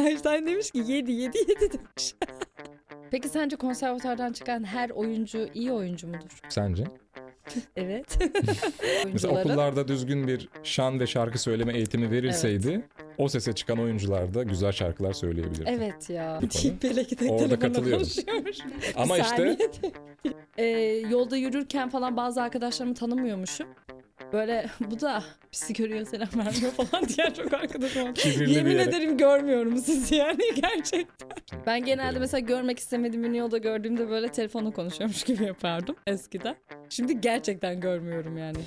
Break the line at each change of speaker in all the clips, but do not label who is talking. Einstein demiş ki 7 7 7 demiş. Peki sence konservatuardan çıkan her oyuncu iyi oyuncu mudur?
Sence?
Evet.
Mesela
Oyuncuların-
okullarda düzgün bir şan ve şarkı söyleme eğitimi verilseydi o sese çıkan oyuncular da güzel şarkılar söyleyebilirdi.
Evet ya.
Bir konu.
Böyle gidip
Orada
telefonla
katılıyoruz.
konuşuyormuş.
Ama
Bir
işte
saniyede. Ee, yolda yürürken falan bazı arkadaşlarımı tanımıyormuşum. Böyle bu da bizi görüyor selam vermiyor falan diyen çok arkadaşım oldu.
Kibirli bir
Yemin
yere.
ederim görmüyorum sizi yani gerçekten. Ben genelde mesela görmek istemediğim ünlü yolda gördüğümde böyle telefonla konuşuyormuş gibi yapardım eskiden. Şimdi gerçekten görmüyorum yani.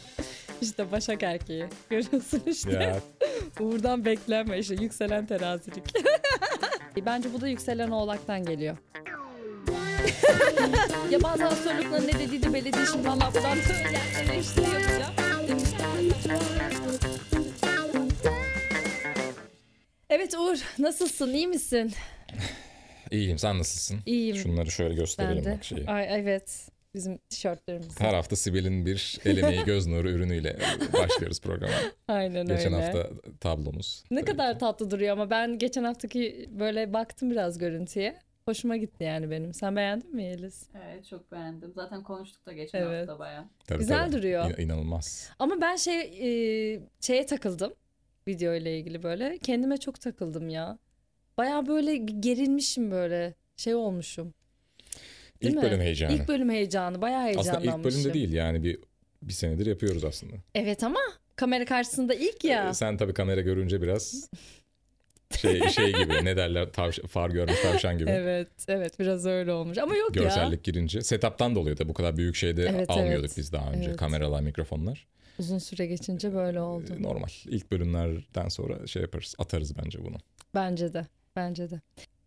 İşte Başak erkeği. Görüyorsun işte.
ya
Uğur'dan beklenme işte yükselen terazilik. Bence bu da yükselen oğlaktan geliyor. ya bazı hastalıkların ne dediği de belli değil. Şimdi valla buradan böyle eleştiri yapacağım. Evet Uğur nasılsın iyi misin?
iyiyim sen nasılsın?
İyiyim
Şunları şöyle
ben
gösterelim
de.
bak şeyi.
Ay evet bizim tişörtlerimiz.
Her hafta Sibel'in bir el emeği göz nuru ürünüyle başlıyoruz programa.
Aynen
Geçen
öyle.
hafta tablomuz.
Ne
Tabii
kadar
ki.
tatlı duruyor ama ben geçen haftaki böyle baktım biraz görüntüye. Hoşuma gitti yani benim. Sen beğendin mi Yeliz?
Evet çok beğendim. Zaten konuştuk da geçen
Evet.
hafta baya.
Tabii,
Güzel
tabii.
duruyor.
İn- İnanılmaz.
Ama ben şey e, şeye takıldım video ile ilgili böyle. Kendime çok takıldım ya. Baya böyle gerilmişim böyle şey olmuşum. Değil mi?
ilk bölüm heyecanı.
İlk bölüm heyecanı bayağı
aslında
heyecanlanmışım.
ilk bölümde değil yani bir bir senedir yapıyoruz aslında.
Evet ama kamera karşısında ilk ya.
Ee, Sen tabii kamera görünce biraz şey şey gibi ne derler tavş- far görmüş tavşan gibi.
Evet evet biraz öyle olmuş ama yok ya.
Görsellik girince. Setup'tan dolayı da bu kadar büyük şeyde
Evet,
almıyorduk
evet.
biz daha önce
Evet.
kameralar, mikrofonlar.
Uzun süre geçince böyle oldu.
Ee, Normal. İlk bölümlerden sonra şey yaparız, atarız bence bunu.
Bence de. Bence de.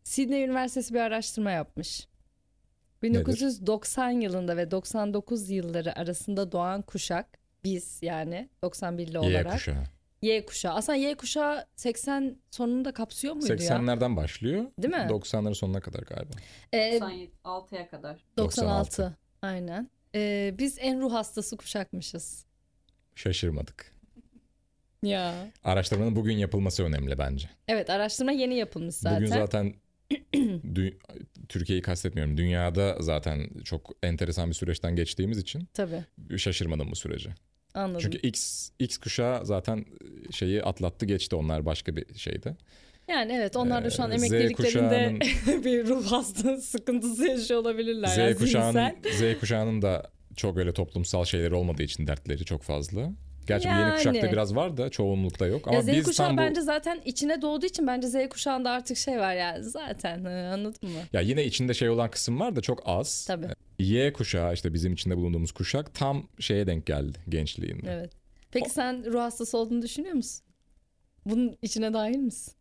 Sydney Üniversitesi bir araştırma yapmış. 1990 yılında ve 99 yılları arasında doğan kuşak biz yani 91'li
Y
olarak
kuşağı.
Y kuşağı. Aslında Y kuşağı 80 sonunu da kapsıyor muydu ya?
80'lerden başlıyor.
Değil mi?
90'ların sonuna kadar galiba.
Ee,
96'ya kadar.
96. Aynen. Ee, biz en ruh hastası kuşakmışız.
Şaşırmadık.
Ya.
Araştırmanın bugün yapılması önemli bence.
Evet araştırma yeni yapılmış zaten.
Bugün zaten dü- Türkiye'yi kastetmiyorum. Dünyada zaten çok enteresan bir süreçten geçtiğimiz için
Tabii
şaşırmadım bu sürece.
anladım.
Çünkü X X kuşağı zaten e, şeyi atlattı geçti onlar başka bir şeydi.
Yani evet onlar da şu an
Ee, Z
emekliliklerinde bir ruh hastası sıkıntısı yaşıyor olabilirler. yani
Z kuşağının
zihinsel.
Z kuşağının da çok öyle toplumsal şeyleri olmadığı için dertleri çok fazla. Gerçi bu yeni
Yani.
kuşakta biraz var da çoğunlukta yok ama
Ya Z
biz
kuşağı
tam bu
bence zaten içine doğduğu için bence Z kuşağında artık şey var yani zaten hı, anladın mı?
ya yine içinde şey olan kısım var da çok az.
Tabii
Y kuşağı işte bizim içinde bulunduğumuz kuşak tam şeye denk geldi gençliğinde.
evet. Peki sen ruh hastası olduğunu düşünüyor musun? Bunun içine dahil misin?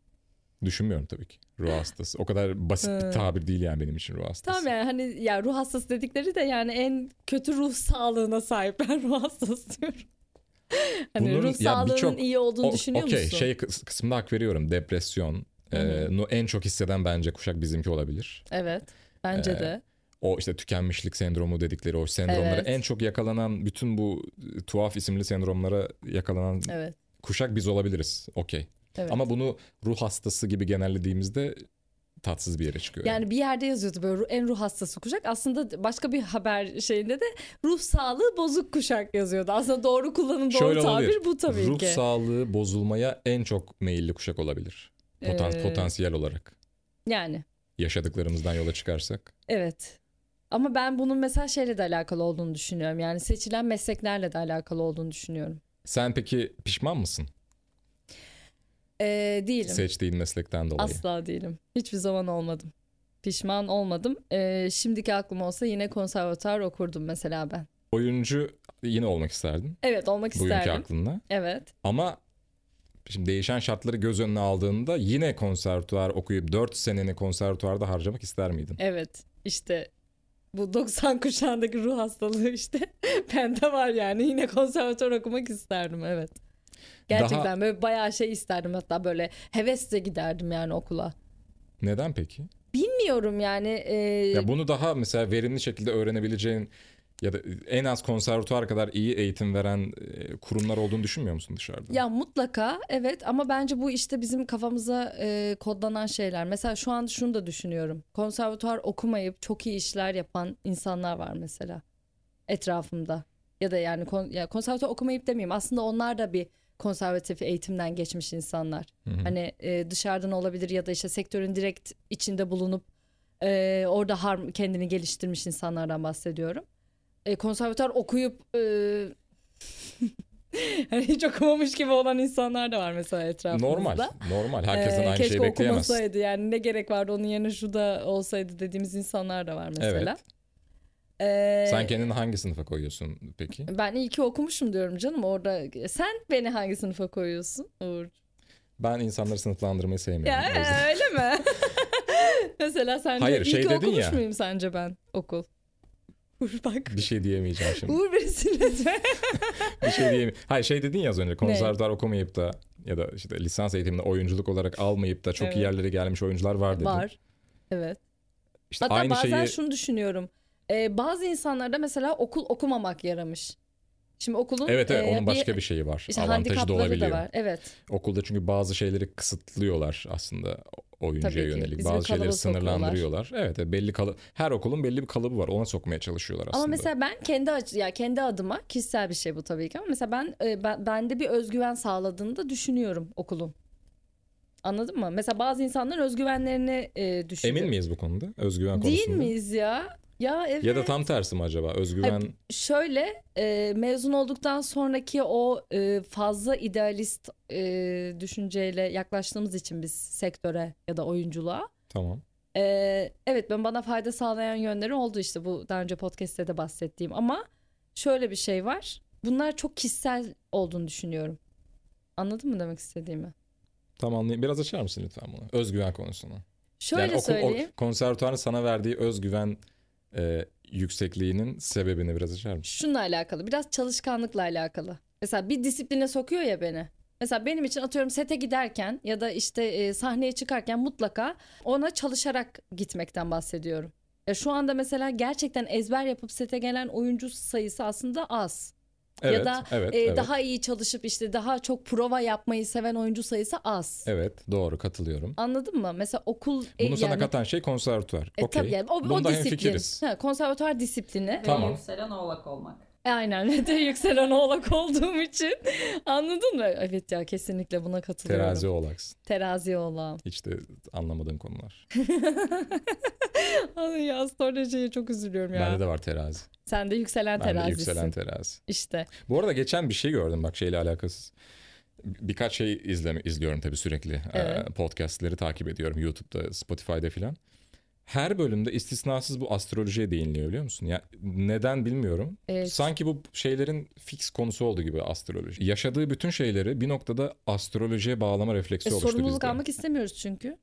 Düşünmüyorum tabii ki. Ruh hastası. O kadar basit
Hı.
bir tabir değil yani benim için ruh hastası.
Tamam yani hani ya ruh hastası dedikleri de yani en kötü ruh sağlığına sahipler ruh hastası diyorum. hani
Bunun-
ruh
ya
sağlığının
birçok-
iyi olduğunu
O-
düşünüyor
okey,
musun?
şey kıs- kısmında hak veriyorum. Depresyon.
Hı
e, nu- en çok hisseden bence kuşak bizimki olabilir.
Evet bence
Ee,
de.
O işte tükenmişlik sendromu dedikleri o sendromlara
Evet.
en çok yakalanan bütün bu e, tuhaf isimli sendromlara yakalanan
Evet.
kuşak biz olabiliriz. Okey.
evet.
Ama bunu ruh hastası gibi genellediğimizde tatsız bir yere çıkıyor.
Yani bir yerde yazıyordu böyle en ruh hastası kuşak. Aslında başka bir haber şeyinde de ruh sağlığı bozuk kuşak yazıyordu. Aslında doğru kullanım doğru
Şöyle
tabir
olabilir.
bu tabii
ruh
ki.
sağlığı bozulmaya en çok meyilli kuşak olabilir. Potan-
Ee,
Potansiyel olarak.
Yani
Yaşadıklarımızdan yola çıkarsak.
evet. Ama ben bunun mesela şeyle de alakalı olduğunu düşünüyorum. Yani seçilen mesleklerle de alakalı olduğunu düşünüyorum.
Sen peki pişman mısın
Ee, değilim.
seçtiğin meslekten dolayı?
Asla değilim. Hiçbir zaman olmadım. Pişman olmadım. Ee, şimdiki aklım olsa yine konservatuar okurdum mesela ben.
Oyuncu yine olmak isterdin
Evet olmak
bugünkü
isterdim.
aklınla.
Evet.
Ama şimdi değişen şartları göz önüne aldığında yine konservatuvar okuyup 4 seneni konservatuvarda harcamak ister miydin?
Evet işte bu 90 kuşağındaki ruh hastalığı işte bende var yani yine konservatuar okumak isterdim evet. Gerçekten
Daha-
böyle bayağı şey isterdim hatta böyle hevesle giderdim yani okula.
Neden peki?
Bilmiyorum yani e,
Ya bunu daha mesela verimli şekilde öğrenebileceğin Ya da en az konservatuar kadar iyi eğitim veren e, kurumlar olduğunu düşünmüyor musun dışarıda?
Ya mutlaka evet ama bence bu işte bizim kafamıza e, kodlanan şeyler. Mesela şu an şunu da düşünüyorum. Konservatuar okumayıp çok iyi işler yapan insanlar var mesela etrafımda. Ya da yani kon- ya konservatuar okumayıp demeyeyim. Aslında onlar da bir konservatif eğitimden geçmiş insanlar.
Hı hı.
Hani e, dışarıdan olabilir ya da işte sektörün direkt içinde bulunup e, orada harm kendini geliştirmiş insanlardan bahsediyorum. E, konservatuar okuyup e, hani hiç okumamış gibi olan insanlar da var mesela etrafımızda.
normal, normal. Herkesten
E,
aynı
keşke
şeyi bekleyemez.
okumasaydı yani ne gerek vardı onun yerine şu da olsaydı dediğimiz insanlar da var mesela.
Evet.
E,
Sen kendini hangi sınıfa koyuyorsun peki?
Ben iyi ki okumuşum diyorum canım orada. Sen beni hangi sınıfa koyuyorsun Uğur?
Ben insanları sınıflandırmayı sevmiyorum.
Ya
o yüzden.
öyle mi? Mesela sence
Hayır,
iyi
şey
ki
dedin
okumuş
ya.
muyum sence ben okul? Uğur bak.
Bir şey diyemeyeceğim şimdi.
Uğur birisi lütfen.
bir şey diyeyim. Hayır şey dedin ya az önce konservatuar okumayıp da ya da işte lisans eğitimini oyunculuk olarak almayıp da çok iyi
Evet.
yerlere gelmiş oyuncular var dedin.
Var. Evet.
İşte
Hatta
aynı
bazen
şeyi
şunu düşünüyorum. Ee, bazı insanlarda mesela okul okumamak yaramış. Şimdi okulun
Evet evet
e,
onun başka bir şeyi var.
işte
Avantajı da
handikapları da
olabiliyor.
var. Evet.
Okulda çünkü bazı şeyleri kısıtlıyorlar aslında oyuncuya
Tabii ki.
yönelik.
Bizim
bazı şeyleri
kalıba sokuyorlar.
sınırlandırıyorlar. Evet evet, belli kalı her okulun belli bir kalıbı var. Ona sokmaya çalışıyorlar aslında.
Ama mesela ben kendi aç- ya kendi adıma kişisel bir şey bu tabii ki ama mesela ben, e, ben bende bir özgüven sağladığını da düşünüyorum okulun. Anladın mı? Mesela bazı insanlar özgüvenlerini e, düşürüyor.
Emin miyiz bu konuda? Özgüven
Değil
konusunda.
miyiz ya? Ya evet.
Ya da tam tersi mi acaba? Özgüven
Şöyle e, mezun olduktan sonraki o e, fazla idealist e, düşünceyle yaklaştığımız için biz sektöre ya da oyunculuğa
tamam.
ee, evet ben bana fayda sağlayan yönleri oldu işte bu daha önce podcast'te de bahsettiğim ama şöyle bir şey var. Bunlar çok kişisel olduğunu düşünüyorum. Anladın mı demek istediğimi?
Tam anlayayım. Biraz açar mısın lütfen bunu? Özgüven konusunu.
Şöyle
yani okul,
söyleyeyim.
o, konservatuarın sana verdiği özgüven e, yüksekliğinin sebebini biraz açar mısın?
Şununla alakalı biraz çalışkanlıkla alakalı. Mesela bir disipline sokuyor ya beni. Mesela benim için atıyorum sete giderken ya da işte e, sahneye çıkarken mutlaka ona çalışarak gitmekten bahsediyorum. Ya şu anda mesela gerçekten ezber yapıp sete gelen oyuncu sayısı aslında az.
Evet,
da,
evet,
Ee,
evet.
daha iyi çalışıp işte daha çok prova yapmayı seven oyuncu sayısı az.
Evet, doğru katılıyorum.
Anladın mı? Mesela okul e,
Bunu sana
yani-
katan şey konservatuar.
e,
Okey.
tabii yani o, o
Bunda hemfikiriz.
disiplin. Ha, konservatuar disiplini.
Tamam.
Ve yükselen oğlak olmak.
E, aynen. Ve de yükselen oğlak olduğum için. Anladın mı? Evet ya kesinlikle buna katılıyorum.
Terazi olaksın.
Terazi oğlağım.
Hiç de anlamadığın konular.
Ay ya astrolojiye çok üzülüyorum ya.
Bende de var terazi.
Sen de yükselen
Bende de
terazisin.
yükselen terazi.
İşte.
Bu arada geçen bir şey gördüm bak şeyle alakasız. Bir- Birkaç şey izleme, izliyorum tabii sürekli. Ee,
Evet.
podcastleri takip ediyorum YouTube'da, Spotify'da filan. Her bölümde istisnasız bu astrolojiye değiniliyor biliyor musun? Ya neden bilmiyorum.
Evet.
Sanki bu şeylerin fix konusu oldu gibi astroloji. Yaşadığı bütün şeyleri bir noktada astrolojiye bağlama refleksi
E,
oluştu
sorumluluk
bizde.
almak istemiyoruz çünkü.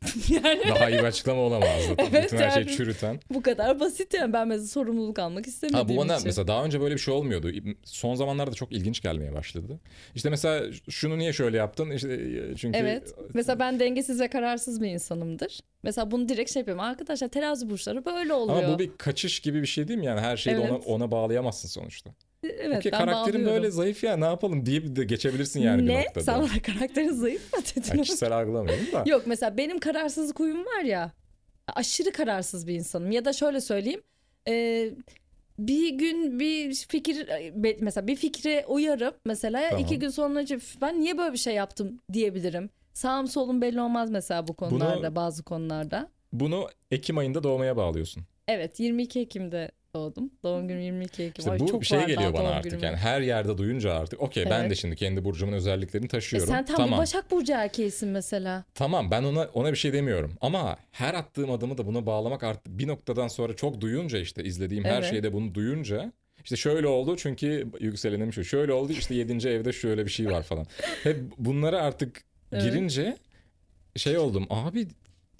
yani
Daha iyi bir açıklama olamazdı.
Evet,
bütün her şeyi
yani.
çürüten.
bu kadar basit yani ben mesela sorumluluk almak
Ha
istemediğim
bu bana
için.
mesela daha önce böyle bir şey olmuyordu. Son zamanlarda çok ilginç gelmeye başladı. İşte mesela şunu niye şöyle yaptın? İşte e, çünkü
Evet. Mesela ben dengesiz ve kararsız bir insanımdır. Mesela bunu direkt şey yapıyorum. Arkadaşlar terazi burçları böyle oluyor.
ama bu bir kaçış gibi bir şey değil mi? Yani her şeyi de ona,
Evet.
ona bağlayamazsın sonuçta.
evet,
Okey,
ben
karakterin
bağlıyorum.
böyle zayıf ya ne yapalım deyip de geçebilirsin yani bir
ne?
noktada.
Sen bana karakterin zayıf mı
Yani
dedin?
kişisel algılamıyorum da.
Yok mesela benim kararsızlık huyum var ya. Aşırı kararsız bir insanım. Ya da şöyle söyleyeyim. e, bir gün bir fikir e, be- mesela bir fikre uyarıp mesela
Tamam.
iki gün sonra "Üf, ben niye böyle bir şey yaptım diyebilirim. Sağım solum belli olmaz mesela bu konularda bazı konularda.
Bunu Ekim ayında doğmaya bağlıyorsun.
Evet 22 Ekim'de doğdum. Doğum günüm 22 Ekim.
İşte
Ay,
bu
çok
bir şey
var daha
geliyor bana
doğum E,
artık
günüme.
yani her yerde duyunca artık okey ben
Evet.
de şimdi kendi burcumun özelliklerini
E
taşıyorum.
sen tam bir
tamam.
Başak Burcu erkeğisin mesela.
Tamam ben ona ona bir şey demiyorum ama her attığım adımı da buna bağlamak artık bir noktadan sonra çok duyunca işte izlediğim her
Evet.
şeyde bunu duyunca işte şöyle oldu çünkü yükselenim şu şöyle oldu işte 7. evde şöyle bir şey var falan. Hep bunlara artık
Evet.
girince şey oldum abi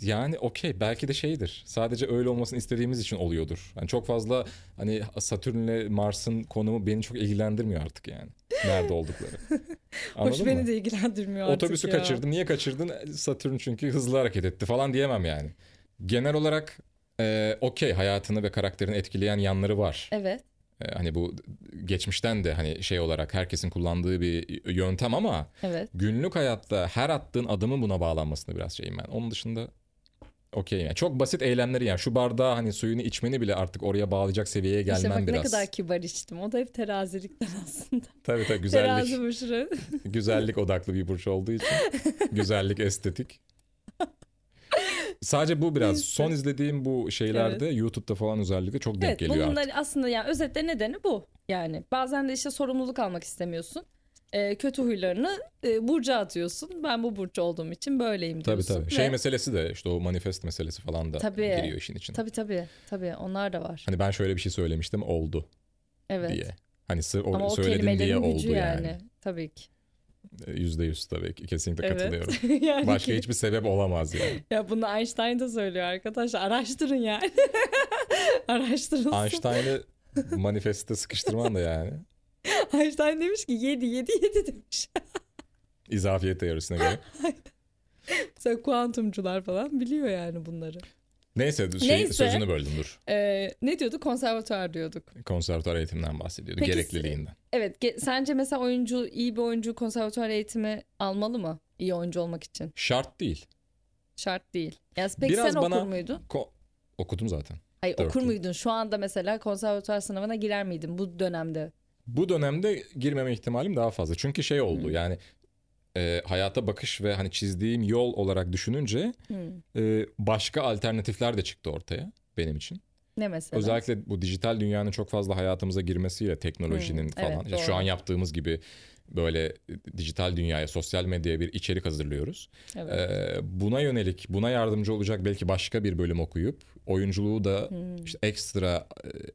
yani okey belki de şeydir sadece öyle olmasını istediğimiz için oluyordur. Yani çok fazla hani Satürn'le Mars'ın konumu beni çok ilgilendirmiyor artık yani nerede oldukları.
Hoş
Anladın mı?
beni de ilgilendirmiyor artık
Otobüsü
ya.
E, kaçırdım. Niye kaçırdın? Satürn çünkü hızlı hareket etti falan diyemem yani. Genel olarak Ee, Okey hayatını ve karakterini etkileyen yanları var.
Evet.
Ee, hani bu geçmişten de hani şey olarak herkesin kullandığı bir yöntem ama
Evet.
günlük hayatta her attığın adımın buna bağlanmasını biraz şeyim ben. Onun dışında okey yani. Çok basit eylemleri yani şu bardağı hani suyunu içmeni bile artık oraya bağlayacak seviyeye gelmen
işte bak
biraz.
ne kadar kibar içtim. O da hep terazilikten aslında.
Tabii tabii güzellik,
Terazi burçları.
güzellik odaklı bir burç olduğu için. güzellik, estetik. Sadece bu biraz.
Neyse.
Son izlediğim bu şeylerde YouTube'da falan özellikle çok denk
Evet
geliyor
bunun
artık.
da aslında yani özetle nedeni bu. Yani bazen de işte sorumluluk almak istemiyorsun. Ee, kötü huylarını e, burca atıyorsun. Ben bu burç olduğum için böyleyim
Tabii
diyorsun.
tabii. Şey
Ve-
meselesi de işte o manifest meselesi falan da
Tabii.
giriyor işin içine.
Tabii tabii tabii onlar da var.
Hani ben şöyle bir şey söylemiştim oldu
Evet.
diye. Hani sı- o,
Ama o
söyledim diye
kelimelerin
oldu
gücü yani.
yani.
Tabii ki.
Yüzde yüz tabii ki. Kesinlikle katılıyorum.
yani
Başka
ki-
hiçbir sebep olamaz yani.
Ya bunu Einstein da söylüyor arkadaşlar. Araştırın yani. Araştırılsın.
Einstein'ı manifeste sıkıştırman da yani.
Einstein demiş ki 7 7 7 demiş.
İzafiyet teorisine göre.
Mesela kuantumcular falan biliyor yani bunları.
Neyse, şey,
Neyse.
sözünü böldüm dur.
Ee, ne diyordu? Konservatuar diyorduk.
Konservatuar eğitiminden bahsediyordu.
Peki, e-
gerekliliğinden.
Evet ge- sence mesela oyuncu iyi bir oyuncu konservatuar eğitimi almalı mı? İyi oyuncu olmak için.
Şart değil.
Şart değil. Ya peki
Biraz
sen
bana-
okur muydun?
Ko- Okudum zaten.
Hayır
Dört
okur
yıl.
muydun? Şu anda mesela konservatuar sınavına girer miydin bu dönemde?
Bu dönemde girmeme ihtimalim daha fazla. Çünkü şey oldu
Hmm.
yani e, hayata bakış ve hani çizdiğim yol olarak düşününce
Hmm.
e, başka alternatifler de çıktı ortaya benim için.
Ne mesela?
Özellikle bu dijital dünyanın çok fazla hayatımıza girmesiyle teknolojinin
Hı, evet,
falan. Ya şu
doğru.
an yaptığımız gibi böyle e, dijital dünyaya, sosyal medyaya bir içerik hazırlıyoruz.
Evet.
Ee, buna yönelik, buna yardımcı olacak belki başka bir bölüm okuyup oyunculuğu da
Hmm.
işte ekstra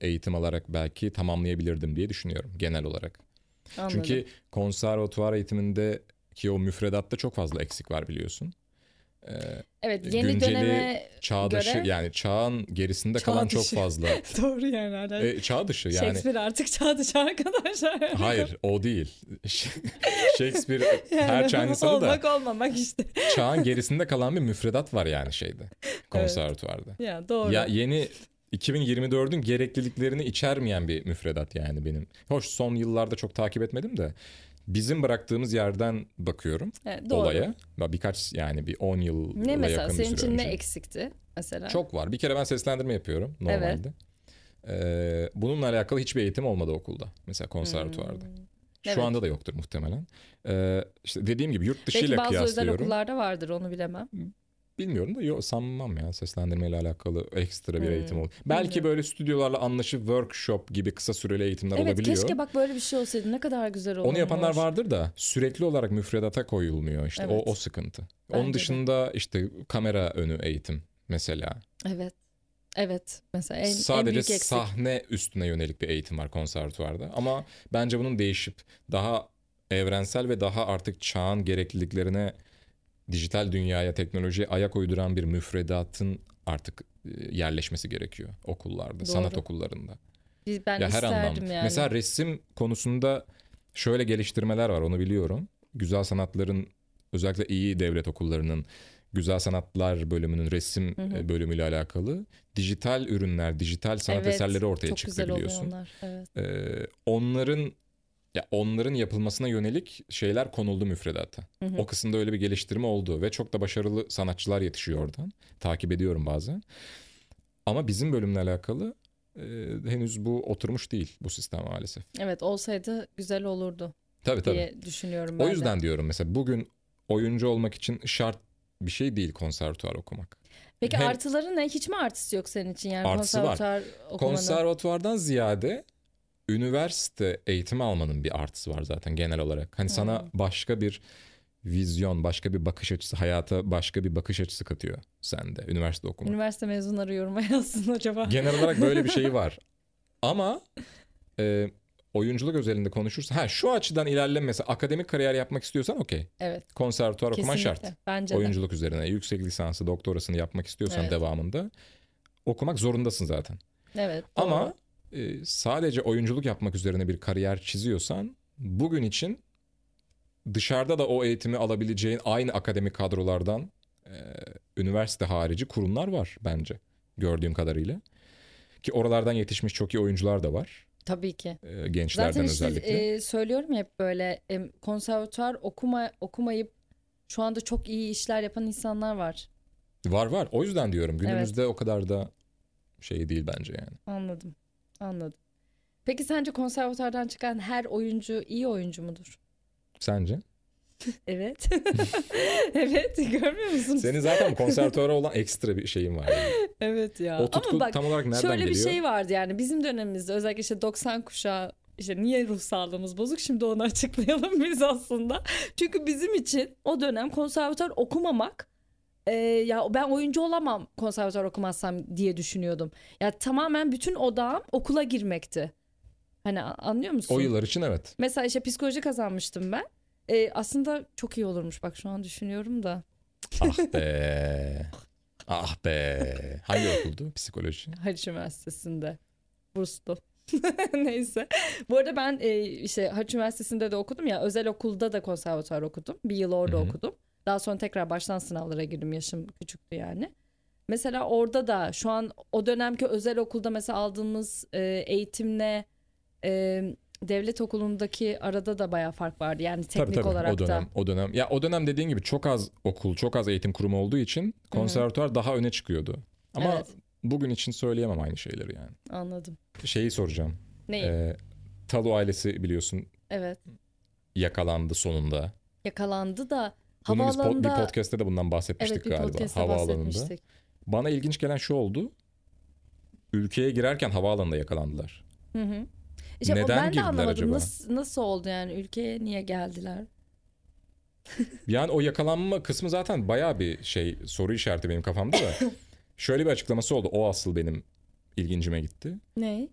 e, eğitim alarak belki tamamlayabilirdim diye düşünüyorum genel olarak.
Anladım.
Çünkü konservatuvar eğitiminde ki o müfredatta çok fazla eksik var biliyorsun. Ee,
evet yeni
günceli-
döneme
çağdaşı
Göre-
yani çağın gerisinde kalan
Çağ dışı.
çok fazla.
doğru yani hala.
E, çağ dışı yani.
Shakespeare artık çağ dışı arkadaşlar.
Hayır o değil. Shakespeare her çaynısını da
olmak olmamak işte.
çağın gerisinde kalan bir müfredat var yani şeyde konservatuvarda.
Ya doğru.
Ya yeni 2024'ün gerekliliklerini içermeyen bir müfredat yani benim. Hoş son yıllarda çok takip etmedim de bizim bıraktığımız yerden bakıyorum
Evet, doğru.
olaya. Ya Birkaç yani bir 10 yıl
Ne mesela
yakın
senin
bir süre
için ne
önce.
eksikti mesela?
Çok var. Bir kere ben seslendirme yapıyorum normalde. Ee, bununla alakalı hiçbir eğitim olmadı okulda. Mesela konservatuvarda. Şu
Hmm. Evet.
anda da yoktur muhtemelen. Ee, işte dediğim gibi yurt
Belki
dışıyla
bazı özel
kıyaslıyorum.
okullarda vardır onu bilemem.
Bilmiyorum da yok sanmam ya seslendirmeyle alakalı ekstra bir
Hmm,
eğitim olur. Belki
bilmiyorum.
böyle stüdyolarla anlaşıp workshop gibi kısa süreli eğitimler
Evet
olabiliyor.
keşke bak böyle bir şey olsaydı ne kadar güzel olurdu.
Onu yapanlar vardır da sürekli olarak müfredata koyulmuyor işte
Evet.
o o sıkıntı.
Bence de.
Onun dışında işte kamera önü eğitim mesela.
Evet. Evet mesela en, en
Sadece
büyük eksik.
sahne üstüne yönelik bir eğitim var konservatuvarda ama bence bunun değişip daha evrensel ve daha artık çağın gerekliliklerine dijital dünyaya, teknolojiye ayak uyduran bir müfredatın artık e, yerleşmesi gerekiyor okullarda, sanat
Doğru.
okullarında.
Biz- Ben
ya her
isterdim
anlamda.
yani.
Mesela resim konusunda şöyle geliştirmeler var onu biliyorum. Güzel sanatların özellikle iyi devlet okullarının güzel sanatlar bölümünün resim
Hı hı.
e, bölümüyle alakalı dijital ürünler, dijital sanat
Evet,
eserleri ortaya
Çok
çıktı
güzel oluyor
biliyorsun.
onlar. Evet.
Ee, onların ya onların yapılmasına yönelik şeyler konuldu müfredata.
Hı hı.
O kısımda öyle bir geliştirme oldu ve çok da başarılı sanatçılar yetişiyor oradan. Takip ediyorum bazen. Ama bizim bölümle alakalı e, henüz bu oturmuş değil bu sistem maalesef.
Evet olsaydı güzel olurdu
Tabii tabii.
diye düşünüyorum ben
o
de.
yüzden diyorum mesela bugün oyuncu olmak için şart bir şey değil konservatuar okumak.
Peki
Hem-
artıları ne? Hiç mi artısı yok senin için? Yani
Artısı var.
konservatuar okumanın.
Konservatuvardan ziyade üniversite eğitimi almanın bir artısı var zaten genel olarak. Hani sana
Hmm.
başka bir vizyon, başka bir bakış açısı, hayata başka bir bakış açısı katıyor sende üniversite okumak.
Üniversite mezunları yoruma yazsın acaba.
Genel olarak böyle bir şey var. Ama e, oyunculuk özelinde konuşursa ha şu açıdan ilerlemesi akademik kariyer yapmak istiyorsan okey.
Evet.
Konservatuvar okuman
Kesinlikle.
şart.
Bence de.
Oyunculuk üzerine yüksek lisansı, doktorasını yapmak istiyorsan
Evet.
devamında okumak zorundasın zaten.
Evet.
Ama
doğru.
e, sadece oyunculuk yapmak üzerine bir kariyer çiziyorsan bugün için dışarıda da o eğitimi alabileceğin aynı akademik kadrolardan e, üniversite harici kurumlar var bence. gördüğüm kadarıyla. Ki oralardan yetişmiş çok iyi oyuncular da var.
Tabii ki.
e, Gençlerden
Zaten işte
özellikle.
e, söylüyorum ya hep böyle e, konservatuar okuma okumayıp şu anda çok iyi işler yapan insanlar var.
Var var. O yüzden diyorum günümüzde o kadar da şey değil bence yani.
Anladım. Anladım. Peki sence konservatuardan çıkan her oyuncu iyi oyuncu mudur?
Sence?
Evet. evet, görmüyor musunuz?
Senin zaten konservatuara olan ekstra bir şeyin var. yani.
Evet ya.
O tutku
Ama bak
tam olarak nereden
şöyle
geliyor?
bir şey vardı yani bizim dönemimizde özellikle işte 90 kuşağı işte niye ruh sağlığımız bozuk şimdi onu açıklayalım biz aslında. Çünkü bizim için o dönem konservatuar okumamak e, ya ben oyuncu olamam konservatuar okumazsam diye düşünüyordum. Ya tamamen bütün odağım okula girmekti. Hani a- anlıyor musun?
O yıllar için evet.
Mesela işte psikoloji kazanmıştım ben. E, aslında çok iyi olurmuş bak şu an düşünüyorum da.
Ah be. Ah be. Hangi okuldu psikoloji?
Haliç Üniversitesi'nde. Burslu. Neyse. Bu arada ben e, işte Haliç Üniversitesi'nde de okudum ya özel okulda da konservatuar okudum. Bir yıl orada
Hı hı.
okudum. Daha sonra tekrar baştan sınavlara girdim. Yaşım küçüktü yani. Mesela orada da şu an o dönemki özel okulda mesela aldığımız e, eğitimle e, devlet okulundaki arada da bayağı fark vardı. Yani teknik
tabii tabii
olarak
o dönem
da.
o dönem. Ya o dönem dediğin gibi çok az okul, çok az eğitim kurumu olduğu için konservatuar daha öne çıkıyordu. Ama
Evet.
bugün için söyleyemem aynı şeyleri yani.
Anladım.
Şeyi soracağım.
Neyi?
Ee, Talu ailesi biliyorsun
evet.
yakalandı sonunda.
Yakalandı da
Bunu biz po-
havaalanında...
bir podcast'te de bundan bahsetmiştik
evet bir
galiba.
podcast'te
havaalanında.
bahsetmiştik.
Bana ilginç gelen şu oldu. Ülkeye girerken havaalanında yakalandılar.
Hı hı. İşte o-
Neden
ben de
girdiler
anlamadım
acaba?
Nasıl, nasıl oldu yani ülkeye niye geldiler?
Yani o yakalanma kısmı zaten bayağı bir şey soru işareti benim kafamda da. Şöyle bir açıklaması oldu. O asıl benim ilgincime gitti.
Ne?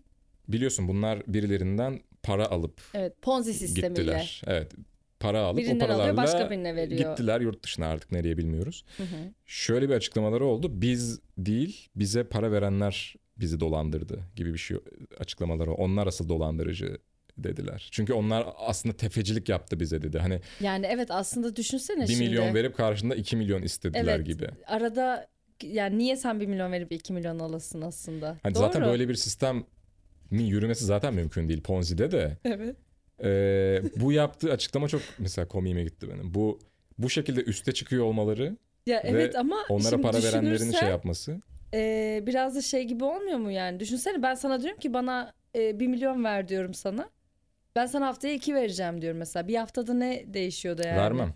Biliyorsun bunlar birilerinden para alıp
Evet Ponzi sistemiyle.
gittiler. Evet. Para alıp o
Birinden
paralarla
alıyor başka birine veriyor.
gittiler yurt dışına artık nereye bilmiyoruz.
Hı hı.
Şöyle bir açıklamaları oldu. Biz değil, bize para verenler bizi dolandırdı gibi bir şey açıklamaları. Onlar asıl dolandırıcı dediler. Çünkü onlar aslında tefecilik yaptı bize dedi. Hani
Yani evet aslında düşünsene
1
şimdi.
milyon verip karşında 2 milyon istediler
Evet.
gibi.
Arada yani niye sen 1 milyon verip 2 milyon alasın aslında?
Hani
Doğru.
zaten böyle bir sistemin yürümesi zaten mümkün değil Ponzi'de de.
Evet.
Ee, bu yaptığı açıklama çok mesela komiğime gitti benim. Bu bu şekilde üste çıkıyor olmaları,
Ya
Ve
evet ama
onlara
şimdi
para verenlerin
düşünürsen-
şey yapması.
Ee, biraz da şey gibi olmuyor mu yani? Düşünsene ben sana diyorum ki bana e, 1 milyon ver diyorum sana. Ben sana haftaya 2 vereceğim diyorum mesela. Bir haftada ne değişiyordu yani?
Vermem.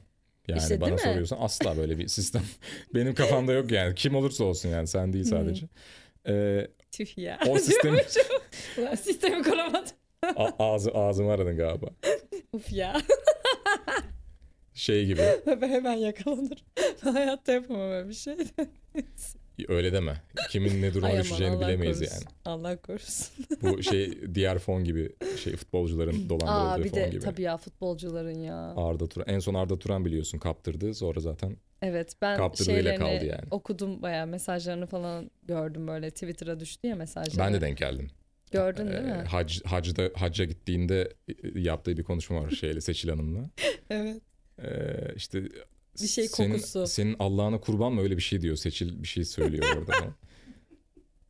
Yani
İşte değil
bana
mi?
soruyorsan asla böyle bir sistem benim kafamda yok yani. Kim olursa olsun yani sen
Hmm.
değil sadece. Ee,
Tüh ya.
o sistem
Ulan sistemi kuramadım.
A- ağzı ağzımı aradın galiba.
Uf ya.
Şey gibi.
Ben hemen yakalanırım. Ben Hayatta yapamam öyle bir şey.
Öyle deme. Kimin ne duruma
Ay aman,
düşeceğini
Allah
bilemeyiz
korusun.
yani.
Allah korusun.
Bu şey diğer fon gibi şey futbolcuların
Aa
dolandırıldığı
bir
fon
de
gibi.
tabii ya futbolcuların ya.
Arda Turan. En son Arda Turan biliyorsun kaptırdı. Sonra zaten
Evet ben
Kaptırdığıyla
şeylerini
kaldı yani.
okudum bayağı mesajlarını falan gördüm böyle Twitter'a düştü ya mesajları.
ben de denk geldim.
Gördün
Ee,
değil mi?
hac, hacda, hacca gittiğinde e, yaptığı bir konuşma var şeyle Seçil Hanım'la.
Evet.
Ee, işte
Bir şey
senin,
kokusu.
Senin Allah'ına kurban mı öyle bir şey diyor. Seçil bir şey söylüyor orada falan.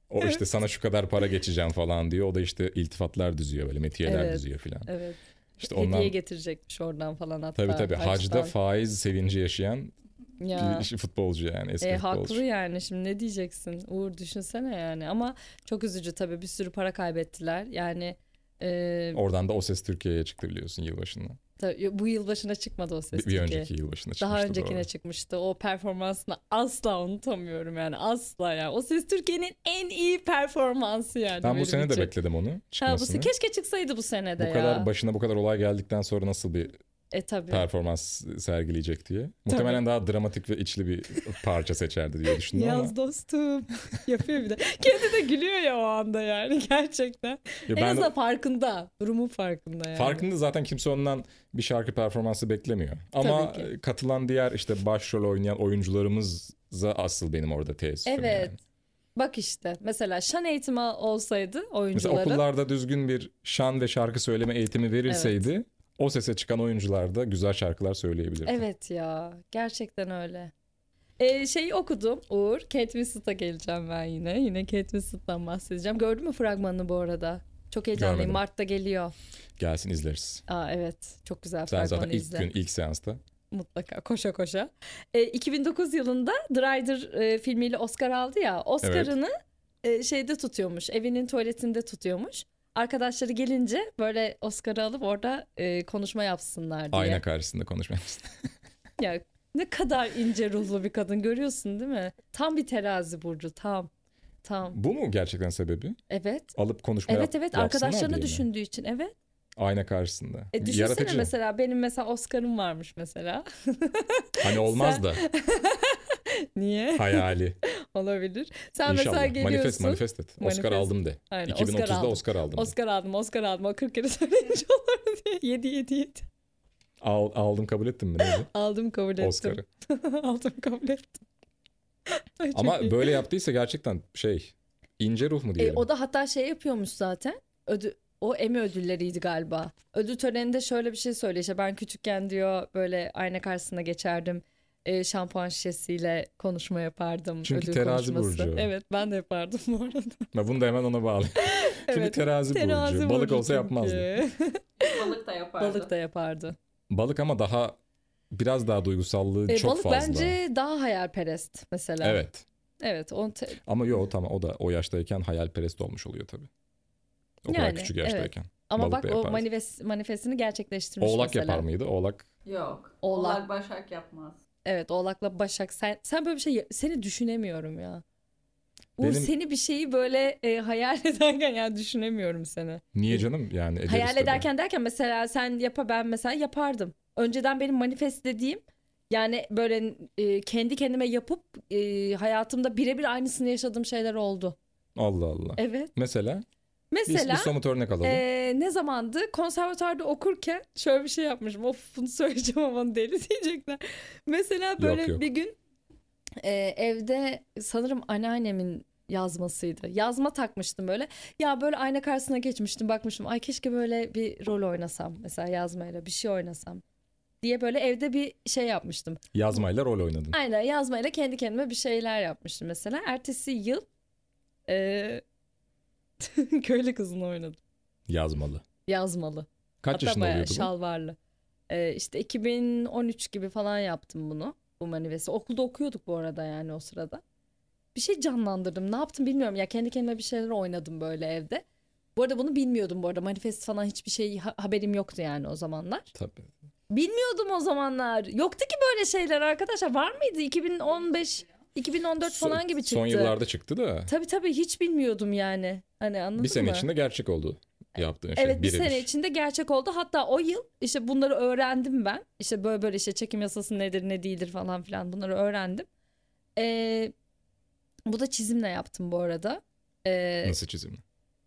O işte sana şu kadar para geçeceğim falan diyor. O da işte iltifatlar düzüyor böyle metiyeler
Evet.
düzüyor falan.
Evet.
İşte
Hediye
ondan
getirecekmiş oradan falan hatta.
tabii tabii hacda
hacdan.
faiz sevinci yaşayan
Ya.
bir iş- futbolcu yani eski
E,
futbolcu.
haklı yani şimdi ne diyeceksin Uğur düşünsene yani ama çok üzücü tabii bir sürü para kaybettiler yani e,
Oradan da O Ses Türkiye'ye çıktı biliyorsun yılbaşında.
tabii bu yılbaşına çıkmadı o ses
Bir, bir
Türkiye.
önceki yılbaşında çıkmıştı.
Daha
bu
öncekine
arada.
çıkmıştı. O performansını asla unutamıyorum yani. Asla ya. O Ses Türkiye'nin en iyi performansı yani.
Ben
benim
bu sene de
için.
bekledim onu
Ha, bu
çıkmasını.
se- keşke çıksaydı bu sene de
bu
ya.
kadar başına bu kadar olay geldikten sonra nasıl bir
E tabii.
performans sergileyecek diye. Muhtemelen daha dramatik ve içli bir parça seçerdi diye düşündüm ama.
Yaz dostum yapıyor bir de. Kendi de gülüyor ya o anda yani gerçekten.
Ya
en
ben
azından farkında. Durumun farkında yani.
farkında zaten kimse ondan bir şarkı performansı beklemiyor. Ama
Tabii
katılan diğer işte başrol oynayan oyuncularımıza asıl benim orada teessüm
Evet.
yani.
Bak işte mesela şan eğitimi olsaydı
Mesela
oyuncuların
okullarda düzgün bir şan ve şarkı söyleme eğitimi verilseydi o sese çıkan oyuncular da güzel şarkılar söyleyebilirdi.
Evet ya gerçekten öyle. Ee, şeyi okudum Uğur. Kate Winslet'a geleceğim ben yine. Yine Kate Winslet'tan bahsedeceğim. Gördün mü fragmanını bu arada? Çok heyecanlıyım.
Görmedim.
Mart'ta geliyor.
Gelsin izleriz.
Aa evet. Çok güzel
Sen
fragmanı
zaten ilk
izle.
gün ilk seansta.
Mutlaka koşa koşa. Ee, 2009 yılında Drider e, filmiyle Oscar aldı ya. Oscar'ını e, şeyde tutuyormuş. Evinin tuvaletinde tutuyormuş. Arkadaşları gelince böyle Oscar'ı alıp orada e, konuşma yapsınlar diye.
Ayna karşısında konuşmayız.
Ya ne kadar ince ruhlu bir kadın görüyorsun değil mi? Tam bir terazi burcu tam. Tam.
Bu mu gerçekten sebebi?
Evet.
Alıp konuşma
Evet
yap-
evet
yapsınlar diye
arkadaşlarını
mi?
düşündüğü için evet.
Ayna karşısında.
E düşünsene
Yaratıcı.
mesela benim mesela Oscar'ım varmış mesela.
Hani olmaz da
Niye?
hayali.
Olabilir. Sen
İnşallah.
mesela
Manifest
geliyorsun.
manifest et.
Manifest.
Oscar aldım de.
Aynen,
2030'da
Oscar
Oscar
aldım.
aldım.
Oscar aldım, Oscar aldım. O 40 kere söyleyince olur diye. 7 7 7.
Al- aldım kabul ettim mi? Neydi?
Aldım kabul ettim.
Oscar'ı.
aldım kabul ettim. Ay, çok iyi.
Ama böyle yaptıysa gerçekten şey ince ruh mu
E,
diyelim?
o da hatta şey yapıyormuş zaten. Ödü, o Emmy ödülleriydi galiba. Ödül töreninde şöyle bir şey söylüyor. İşte ben küçükken diyor böyle ayna karşısına geçerdim. E, şampuan şişesiyle konuşma yapardım.
Çünkü
ödül
terazi
konuşması.
burcu.
Evet ben de yapardım bu arada.
Ben bunu da hemen ona bağlayayım. Çünkü
Evet,
terazi, burcu. Balık olsa
çünkü.
yapmazdı.
Balık da yapardı.
balık da yapardı.
Balık ama daha biraz daha duygusallığı
E,
çok
balık
fazla.
bence daha hayalperest mesela.
Evet.
Evet. On te-
Ama yo tamam o da o yaştayken hayalperest olmuş oluyor tabii. O kadar
Yani,
küçük
evet.
yaştayken.
Ama
Balık da
bak o
yapardı.
manifest, manifestini gerçekleştirmiş
Oğlak
mesela.
yapar mıydı? Oğlak
Yok.
Oğlak.
Oğlak. Başak yapmaz.
Evet Oğlak'la Başak sen sen böyle bir şey seni düşünemiyorum ya. Uğur
Benim-
seni bir şeyi böyle e, hayal ederken ya düşünemiyorum seni.
niye canım yani ederiz
Hayal
E, tabii.
ederken derken mesela sen yapa ben mesela yapardım. Önceden benim manifest dediğim yani böyle e, kendi kendime yapıp e, hayatımda birebir aynısını yaşadığım şeyler oldu.
Allah Allah.
Evet.
Mesela biz,
Mesela
bir somut örnek alalım.
Ee, ne zamandı? Konservatuarda okurken şöyle bir şey yapmışım. Of bunu söyleyeceğim ama deli diyecekler. Mesela böyle
yok.
bir gün e, evde sanırım anneannemin yazmasıydı. Yazma takmıştım böyle. Ya böyle ayna karşısına geçmiştim bakmıştım. Ay keşke böyle bir rol oynasam. Mesela yazmayla bir şey oynasam diye böyle evde bir şey yapmıştım.
Yazmayla rol oynadın.
Aynen yazmayla kendi kendime bir şeyler yapmıştım mesela. Ertesi yıl e, köylü kızını oynadım.
Yazmalı.
Yazmalı.
Kaç
Hatta
yaşında
bayağı
oluyordu bu?
şalvarlı. Ee, işte 2013 gibi falan yaptım bunu. Bu manifesti. Okulda okuyorduk bu arada yani o sırada. Bir şey canlandırdım. Ne yaptım bilmiyorum. Ya kendi kendime bir şeyler oynadım böyle evde. Bu arada bunu bilmiyordum bu arada. Manifest falan hiçbir şey ha- haberim yoktu yani o zamanlar.
Tabii.
Bilmiyordum o zamanlar. Yoktu ki böyle şeyler arkadaşlar. Var mıydı? 2015, 2014 falan gibi çıktı.
Son yıllarda çıktı da
Tabii tabii hiç bilmiyordum yani. Hani anladın
bir sene
mı? E,
içinde gerçek oldu yaptığın şey.
Evet bir
birebir.
sene içinde gerçek oldu. Hatta o yıl işte bunları öğrendim ben. İşte böyle böyle işte çekim yasası nedir ne değildir falan filan bunları öğrendim. Ee, bu da çizimle yaptım bu arada. Ee,
Nasıl çizim?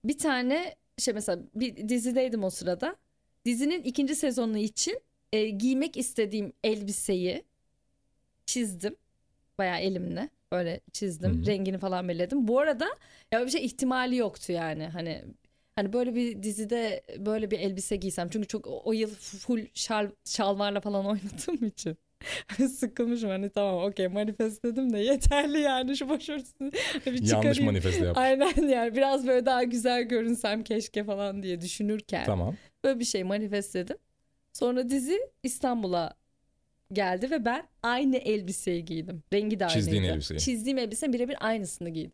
bir tane şey mesela bir dizideydim o sırada. Dizinin ikinci sezonu için e, giymek istediğim elbiseyi çizdim. Bayağı elimle böyle çizdim.
Hı hı.
Rengini falan belirledim. Bu arada ya bir şey ihtimali yoktu yani. Hani hani böyle bir dizide böyle bir elbise giysem çünkü çok o o yıl full şal, şalvarla falan oynadığım için. Sıkılmışım hani tamam okey manifest dedim de yeterli yani şu başörtüsünü bir
Yanlış
çıkarayım.
manifestle yapmış.
Aynen yani biraz böyle daha güzel görünsem keşke falan diye düşünürken
Tamam.
böyle bir şey manifestledim. Sonra dizi İstanbul'a geldi ve ben aynı elbiseyi giydim. Rengi de aynıydı.
Çizdiğin elbiseyi.
Çizdiğim elbise birebir aynısını giydim.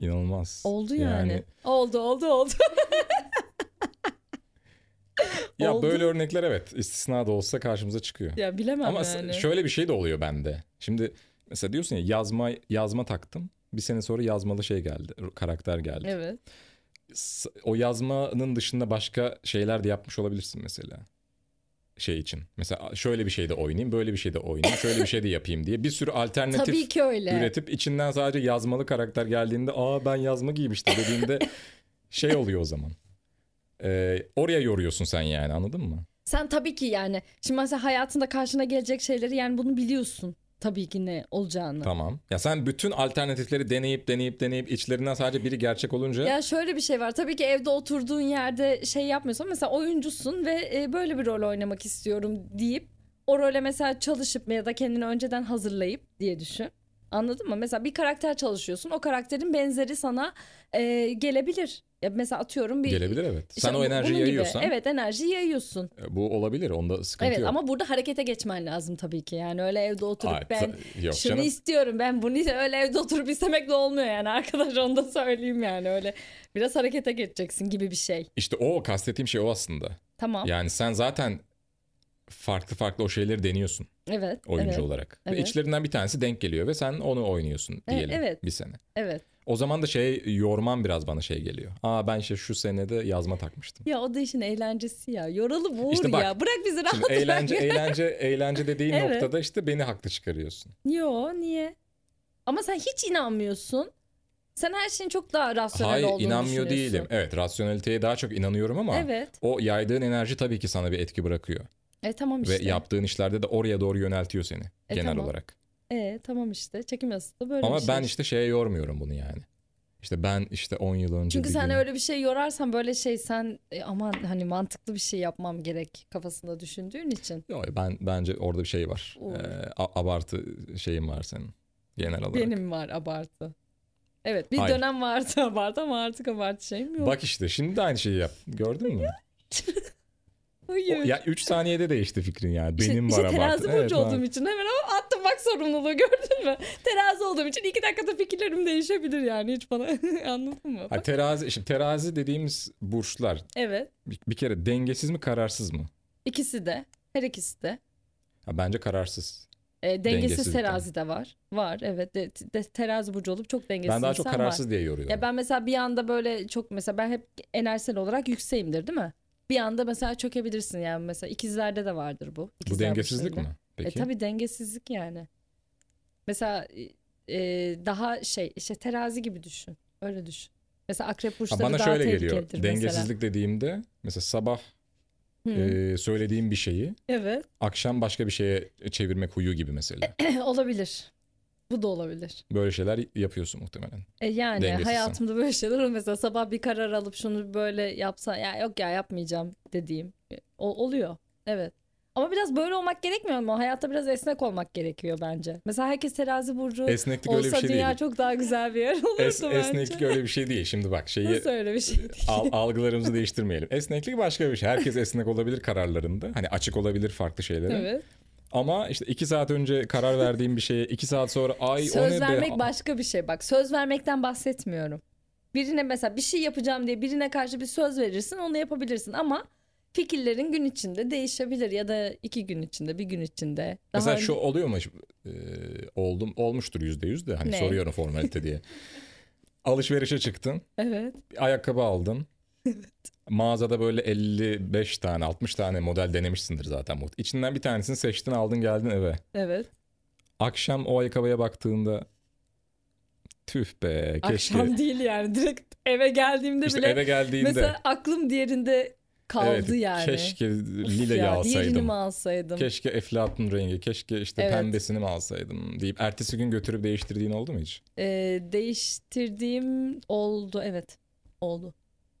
İnanılmaz.
Oldu yani. Oldu oldu oldu.
ya
Oldu.
böyle örnekler evet istisna da olsa karşımıza çıkıyor.
ya bilemem
Ama s-
yani.
şöyle bir şey de oluyor bende. Şimdi mesela diyorsun ya yazma yazma taktım. Bir sene sonra yazmalı şey geldi, r- karakter geldi.
Evet.
S- O yazmanın dışında başka şeyler de yapmış olabilirsin mesela. Şey için. Mesela şöyle bir şey de oynayayım, böyle bir şey de oynayayım, şöyle bir şey de yapayım diye bir sürü alternatif
Tabii ki öyle.
üretip içinden sadece yazmalı karakter geldiğinde aa ben yazma giymiştim dediğinde şey oluyor o zaman. Ee, oraya yoruyorsun sen yani anladın mı?
Sen tabii ki yani şimdi mesela hayatında karşına gelecek şeyleri yani bunu biliyorsun. Tabii ki ne olacağını.
Tamam. Ya sen bütün alternatifleri deneyip deneyip deneyip içlerinden sadece biri gerçek olunca
Ya şöyle bir şey var. Tabii ki evde oturduğun yerde şey yapmıyorsun. Mesela oyuncusun ve e, böyle bir rol oynamak istiyorum deyip o role mesela çalışıp ya da kendini önceden hazırlayıp diye düşün. Anladın mı? Mesela bir karakter çalışıyorsun. O karakterin benzeri sana e, gelebilir. Ya mesela atıyorum bir
Gelebilir evet.
İşte
Sen o
bu-
enerjiyi
bunun gibi.
yayıyorsan e,
Evet enerjiyi yayıyorsun.
bu olabilir. Onda sıkıntı
evet
yok.
ama burada harekete geçmen lazım tabii ki. Yani öyle evde oturup
Ay,
ben
ta- yok
şunu
canım.
istiyorum ben bunu iste- öyle evde oturup istemekle olmuyor yani arkadaş onu da söyleyeyim yani öyle biraz harekete geçeceksin gibi bir şey.
İşte o kastettiğim şey o aslında.
Tamam.
Yani sen zaten farklı farklı o şeyleri deniyorsun
evet.
oyuncu
evet.
olarak. Ve
evet.
içlerinden bir tanesi denk geliyor ve sen onu oynuyorsun
Evet,
diyelim
evet.
bir sene.
Evet.
O zaman da şey yorman biraz bana şey geliyor. Aa ben işte şu senede yazma takmıştım.
Ya o da işin eğlencesi ya. Yoralı vur
İşte bak,
ya. Bırak bizi rahat
Şimdi
bırak.
eğlence eğlence eğlence dediğin
Evet.
noktada işte beni haklı çıkarıyorsun.
Yo niye? Ama sen hiç inanmıyorsun. Sen her şeyin çok daha rasyonel
Hayır
olduğunu
inanmıyor değilim.
düşünüyorsun.
Evet rasyoneliteye daha çok inanıyorum ama
Evet.
o yaydığın enerji tabii ki sana bir etki bırakıyor.
E tamam işte.
Ve yaptığın işlerde de oraya doğru yöneltiyor seni
E,
genel
tamam.
olarak.
E tamam işte. Çekim yasası da böyle
ama
bir şey.
ben işte şeye yormuyorum bunu yani. İşte ben işte 10 yıl önce
Çünkü
bir
sen
gün-
öyle bir şey yorarsan böyle şey sen e, aman hani mantıklı bir şey yapmam gerek kafasında düşündüğün için.
Yok, ben bence orada bir şey var.
Olur.
Ee, a- abartı şeyin var senin genel olarak.
Benim var abartı. Evet bir
Hayır.
dönem vardı abartı ama artık abartı şeyim yok.
Bak işte şimdi de aynı şeyi yap. Gördün mü?
Hayır.
O- ya 3 saniyede değişti fikrin yani.
İşte-
Benim
işte,
var abartı.
şey terazi burcu
Evet, var.
olduğum için hemen ama attım bak sorumluluğu gördün mü? Terazi olduğum için iki dakikada fikirlerim değişebilir yani hiç bana anladın mı?
Ha, terazi, şimdi terazi dediğimiz burçlar
Evet
bir, bir kere dengesiz mi kararsız mı?
ikisi de her ikisi de.
Ha, bence kararsız.
E, dengesiz
Dengesizlik de.
terazi de var. Var evet de, de- terazi burcu olup çok dengesiz
ben daha çok
insan var.
kararsız diye yoruyorum.
Ya ben mesela bir anda böyle çok mesela ben hep enerjisel olarak yükseğimdir değil mi? Bir anda mesela çökebilirsin yani mesela ikizlerde de vardır bu.
Bu
İkizler
dengesizlik
burçlarında.
mi? Peki.
E tabii dengesizlik yani. Mesela e, daha şey işte terazi gibi düşün. Öyle düşün. Mesela akrep
Ha,
burçları
bana
daha
şöyle geliyor.
tehlikelidir
Dengesizlik dediğimde mesela sabah
mesela. Hı,
e, söylediğim bir şeyi
Evet.
akşam başka bir şeye çevirmek huyu gibi mesela.
olabilir. Bu da olabilir.
Böyle şeyler yapıyorsun muhtemelen.
E yani
Dengesizsin.
hayatımda böyle şeyler oluyor. Mesela sabah bir karar alıp şunu böyle yapsa ya yok ya yapmayacağım dediğim e, o, oluyor. Evet. Ama biraz böyle olmak gerekmiyor mu? Hayatta biraz esnek olmak gerekiyor bence. Mesela herkes terazi burcu
Esneklik öyle bir
olsa
şey
dünya
değil.
çok daha güzel bir yer olurdu
Es-
bence.
esneklik öyle bir şey değil. Şimdi bak şeyi
Nasıl öyle bir şey değil?
al- algılarımızı değiştirmeyelim. Esneklik başka bir şey. Herkes esnek olabilir kararlarında. Hani açık olabilir farklı şeylere.
Evet.
Ama işte iki saat önce karar verdiğim bir şeye iki saat sonra ay o ne
söz
be?"
vermek başka bir şey. Bak söz vermekten bahsetmiyorum. Birine mesela bir şey yapacağım diye birine karşı bir söz verirsin onu yapabilirsin ama fikirlerin gün içinde değişebilir ya da iki gün içinde bir gün içinde. Daha
Mesela
önce-
şu oluyor mu? Ee, oldum, olmuştur yüzde yüz de. Hani
Ne?
soruyorum formalite diye. Alışverişe çıktın.
Evet.
bir ayakkabı aldın. Mağazada böyle 55 tane 60 tane model denemişsindir zaten. muht- İçinden bir tanesini seçtin aldın geldin eve.
Evet.
Akşam o ayakkabıya baktığında tüh be keşke.
Akşam değil yani direkt eve geldiğimde
işte
bile
eve geldiğinde
mesela aklım diğerinde kaldı
evet,
yani.
keşke
Of
lileyi
ya, Diğerini
alsaydım.
mi alsaydım?
Keşke eflatun rengi, keşke işte
Evet.
pembesini mi alsaydım deyip ertesi gün götürüp değiştirdiğin oldu mu hiç?
Ee, değiştirdiğim oldu evet. Oldu.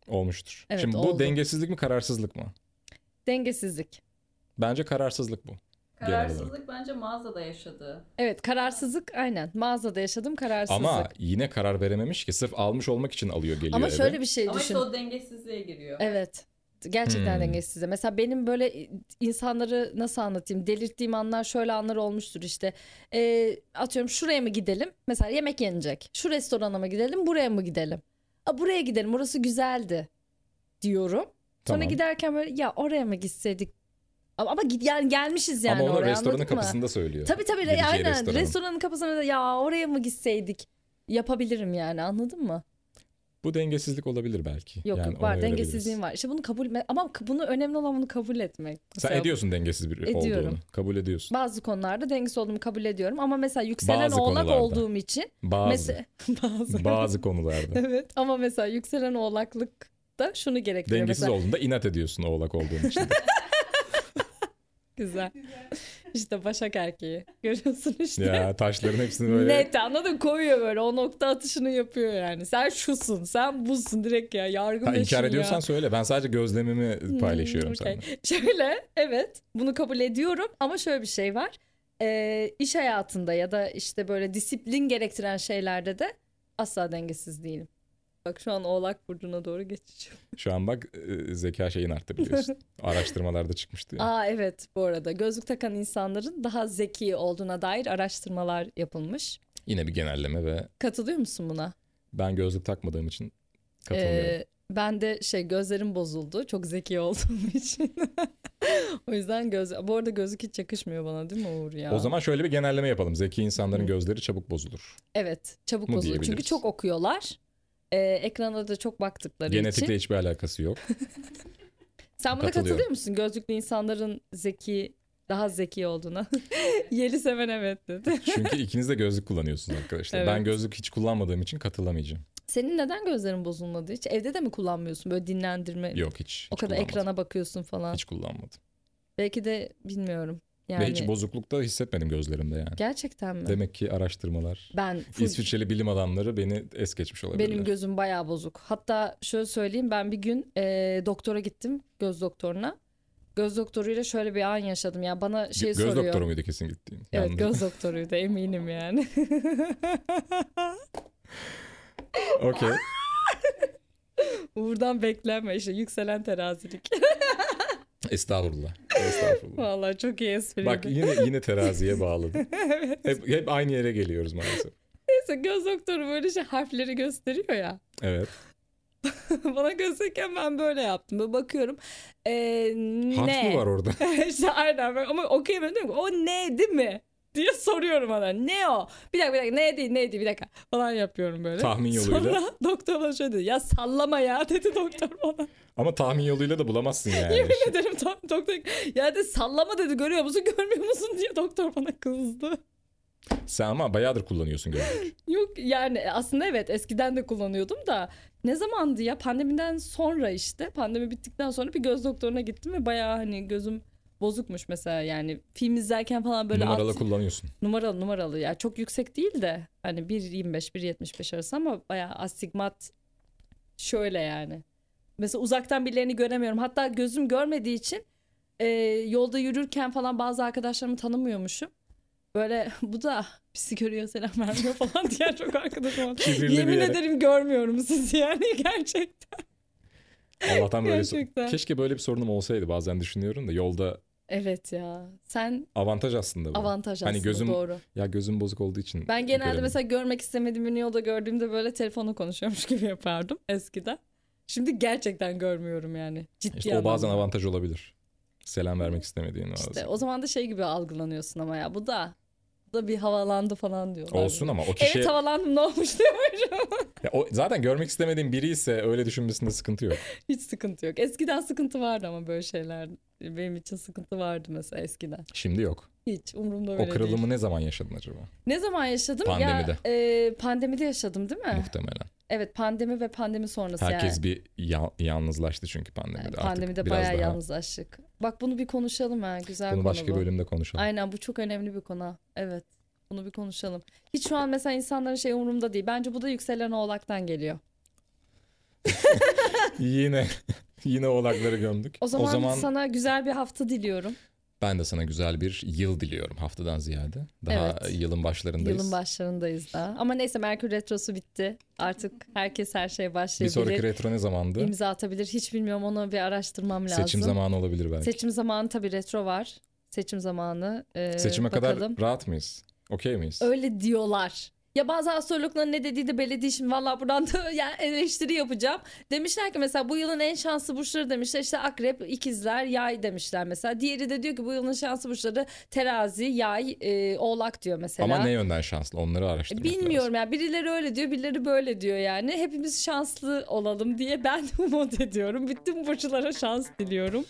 Olmuştur.
Evet,
Şimdi bu
oldu.
dengesizlik mi kararsızlık mı?
Dengesizlik.
Bence kararsızlık bu. Genel olarak.
Kararsızlık bence mağazada yaşadığı.
Evet kararsızlık aynen. Mağazada yaşadım kararsızlık.
Ama yine karar verememiş ki sırf almış olmak için alıyor geliyor
Ama
eve.
şöyle bir şey
Ama
düşün.
işte o dengesizliğe giriyor.
Evet. Gerçekten
Hmm.
dengesiz. Mesela benim böyle insanları nasıl anlatayım? Delirttiğim anlar şöyle anlar olmuştur işte. Ee, atıyorum şuraya mı gidelim? Mesela yemek yenecek. Şu restorana mı gidelim? Buraya mı gidelim? A, buraya gidelim. Burası güzeldi diyorum. Sonra
Tamam.
giderken böyle ya oraya mı gitseydik? Ama, ama git, yani gelmişiz yani
Ama onu
oraya
restoranın
anladın mı?
kapısında söylüyor.
Tabii tabii
Gireceği
aynen.
restoranın.
Restoranın kapısında da ya oraya mı gitseydik? Yapabilirim yani anladın mı?
Bu dengesizlik olabilir belki.
Yok
Yani
yok
ona
var
verebiliriz.
dengesizliğim var. İşte bunu kabul ama bunu önemli olan bunu kabul etmek.
Sen
Mesela
ediyorsun dengesiz bir
Ediyorum.
olduğunu. Kabul ediyorsun.
Bazı konularda dengesiz olduğumu kabul ediyorum ama mesela yükselen
Bazı
oğlak
konularda.
olduğum için
Bazı
mesela bazı
bazı konularda.
evet ama mesela yükselen oğlaklık da şunu gerektiriyor
Dengesiz
mesela.
olduğunda inat ediyorsun oğlak olduğun için.
Güzel. İşte Başak erkeği. Görüyorsun işte.
Ya taşların hepsini böyle
Net anladın koyuyor böyle o nokta atışını yapıyor yani. Sen şusun sen busun direkt ya yargı
Ha,
meşhur
inkar
ya.
ediyorsan söyle. Ben sadece gözlemimi paylaşıyorum
Hmm, okey.
seninle.
Şöyle evet bunu kabul ediyorum ama şöyle bir şey var. Ee, iş hayatında ya da işte böyle disiplin gerektiren şeylerde de asla dengesiz değilim. Bak şu an Oğlak Burcu'na doğru geçeceğim.
Şu an bak e, zeka şeyin arttı biliyorsun. Araştırmalarda çıkmıştı. ya.
Aa evet bu arada gözlük takan insanların daha zeki olduğuna dair araştırmalar yapılmış.
Yine bir genelleme ve
Katılıyor musun buna?
ben gözlük takmadığım için katılmıyorum.
Ee, ben de şey gözlerim bozuldu. Çok zeki olduğum için. O yüzden göz... Bu arada gözlük hiç yakışmıyor bana değil mi Uğur ya?
O zaman şöyle bir genelleme yapalım. Zeki insanların
Hı.
gözleri çabuk bozulur.
Evet, çabuk
Mu
bozuluyor. Çünkü
diyebiliriz.
çok okuyorlar. Ee, ekrana da çok baktıkları
Genetikle
için.
hiçbir alakası yok.
Sen buna
Katılıyorum.
katılıyor musun? Gözlüklü insanların zeki, daha zeki olduğuna. Yeli seven evet dedi.
Çünkü ikiniz de gözlük kullanıyorsunuz arkadaşlar. Ben
Evet.
gözlük hiç kullanmadığım için katılamayacağım.
Senin neden gözlerin bozulmadı hiç? Evde de mi kullanmıyorsun böyle dinlendirme?
Yok hiç.
O
hiç
kadar
kullanmadım.
ekrana bakıyorsun falan.
Hiç kullanmadım.
Belki de bilmiyorum. Yani
Ve hiç bozuklukta hissetmedim gözlerimde yani.
gerçekten mi?
Demek ki araştırmalar.
Ben full-
İsviçreli bilim adamları beni es geçmiş olabilirler.
Benim gözüm bayağı bozuk. Hatta şöyle söyleyeyim ben bir gün eee, doktora gittim göz doktoruna. Göz doktoruyla şöyle bir an yaşadım. Ya bana şey
göz
soruyor.
doktoru muydu kesin gittiğin?
Evet
Yalnız-
göz doktoruydu eminim yani.
Okey.
Buradan beklenme işte yükselen terazilik.
Estağfurullah. Estağfurullah.
Vallahi çok iyi espriydi.
Bak yine yine teraziye bağladım. hep, hep aynı yere geliyoruz maalesef.
Neyse göz doktoru böyle şey harfleri gösteriyor ya.
Evet.
Bana gösterirken ben böyle yaptım. Böyle bakıyorum. Ee, ne?
Harf mi var orada?
işte aynen böyle. ama okuyamıyorum diyorum ki o ne değil mi? diye soruyorum ona. Ne o? Bir dakika bir dakika ne değil ne değil bir dakika falan yapıyorum böyle.
Tahmin yoluyla.
Sonra doktor bana şöyle dedi. Ya sallama ya dedi doktor bana.
Ama tahmin yoluyla da bulamazsın yani.
Yemin ederim tam doktor. Ya dedi sallama dedi görüyor musun görmüyor musun diye doktor bana kızdı.
Sen ama bayağıdır kullanıyorsun gözlük.
Yok yani aslında evet eskiden de kullanıyordum da ne zamandı ya pandemiden sonra işte pandemi bittikten sonra bir göz doktoruna gittim ve bayağı hani gözüm bozukmuş mesela yani film izlerken falan böyle
Numaralı
alt-
kullanıyorsun.
numaralı numaralı ya çok yüksek değil de hani 1.25 1.75 arası ama bayağı astigmat şöyle yani. Mesela uzaktan birilerini göremiyorum. Hatta gözüm görmediği için e, yolda yürürken falan bazı arkadaşlarımı tanımıyormuşum. Böyle bu da bizi görüyor selam vermiyor falan diyen çok arkadaşım var.
Kibirli bir
Yemin
yere.
ederim görmüyorum sizi yani gerçekten.
Allah'tan böyle.
Gerçekten.
Keşke böyle bir sorunum olsaydı bazen düşünüyorum da yolda
Evet ya sen
avantaj aslında bu.
avantaj
Hani
aslında
gözüm-
doğru.
Ya gözüm bozuk olduğu için.
Ben genelde
göremiyorum.
mesela görmek istemediğim ünlü yolda gördüğümde böyle telefonla konuşuyormuş gibi yapardım eskiden. Şimdi gerçekten görmüyorum yani. Ciddi
İşte o bazen
anlamda.
avantaj olabilir. Selam vermek istemediğin bazen.
İşte o zaman da şey gibi algılanıyorsun ama ya bu da bu da bir havalandı falan diyorlar.
Olsun
bile.
ama o kişi
Evet havalandım ne olmuş diyormuşum.
Ya o, zaten görmek istemediğin biri ise öyle düşünmesinde sıkıntı yok.
Hiç sıkıntı yok. Eskiden sıkıntı vardı ama böyle şeyler benim için sıkıntı vardı mesela eskiden.
Şimdi yok.
Hiç umurumda öyle
O kırılımı
değil.
ne zaman yaşadın acaba?
Ne zaman yaşadım?
Pandemide.
Ya, e, pandemide yaşadım değil mi?
Muhtemelen.
Evet pandemi ve pandemi sonrası yani.
Herkes bir ya- yalnızlaştı çünkü pandemide.
Evet,
Artık
Pandemide
biraz
bayağı
daha-
yalnızlaştık. Bak bunu bir konuşalım ha. Güzel
Bunu
konu
başka
bu.
bölümde konuşalım.
Aynen bu çok önemli bir konu. Evet. Bunu bir konuşalım. Hiç şu an mesela insanların şey umurumda değil. Bence bu da yükselen oğlaktan geliyor.
Yine yine oğlakları gömdük.
O zaman, sana güzel bir hafta diliyorum.
ben de sana güzel bir yıl diliyorum haftadan ziyade. Daha
Evet.
yılın başlarındayız.
Yılın başlarındayız daha. Ama neyse Merkür Retrosu bitti. Artık herkes her şeye
bir sonraki
başlayabilir.
retro ne zamandı?
imza atabilir. Hiç bilmiyorum onu bir araştırmam lazım.
Seçim zamanı olabilir belki.
Seçim zamanı tabii retro var. Seçim zamanı. Ee,
Seçime
bakalım.
kadar rahat mıyız? Okey miyiz?
Öyle diyorlar. Ya bazı astrologların ne dediği de belli değil. Şimdi valla buradan da yani eleştiri yapacağım. Demişler ki mesela bu yılın en şanslı burçları demişler. İşte akrep, ikizler, yay demişler mesela. Diğeri de diyor ki bu yılın şanslı burçları terazi, yay, e, oğlak diyor mesela. E,
Ama ne yönden şanslı? Onları araştırmak lazım.
Bilmiyorum ya birileri öyle diyor birileri böyle diyor yani hepimiz şanslı olalım diye ben umut ediyorum bütün burçlara şans diliyorum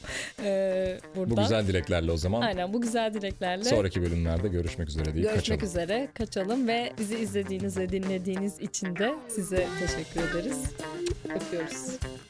ee,
Bu
buradan.
güzel dileklerle o zaman
Aynen bu güzel dileklerle.
sonraki bölümlerde görüşmek üzere deyip
Görüşmek
kaçalım.
üzere. Kaçalım ve bizi izlediğiniz ve dinlediğiniz için de size teşekkür ederiz. Öpüyoruz.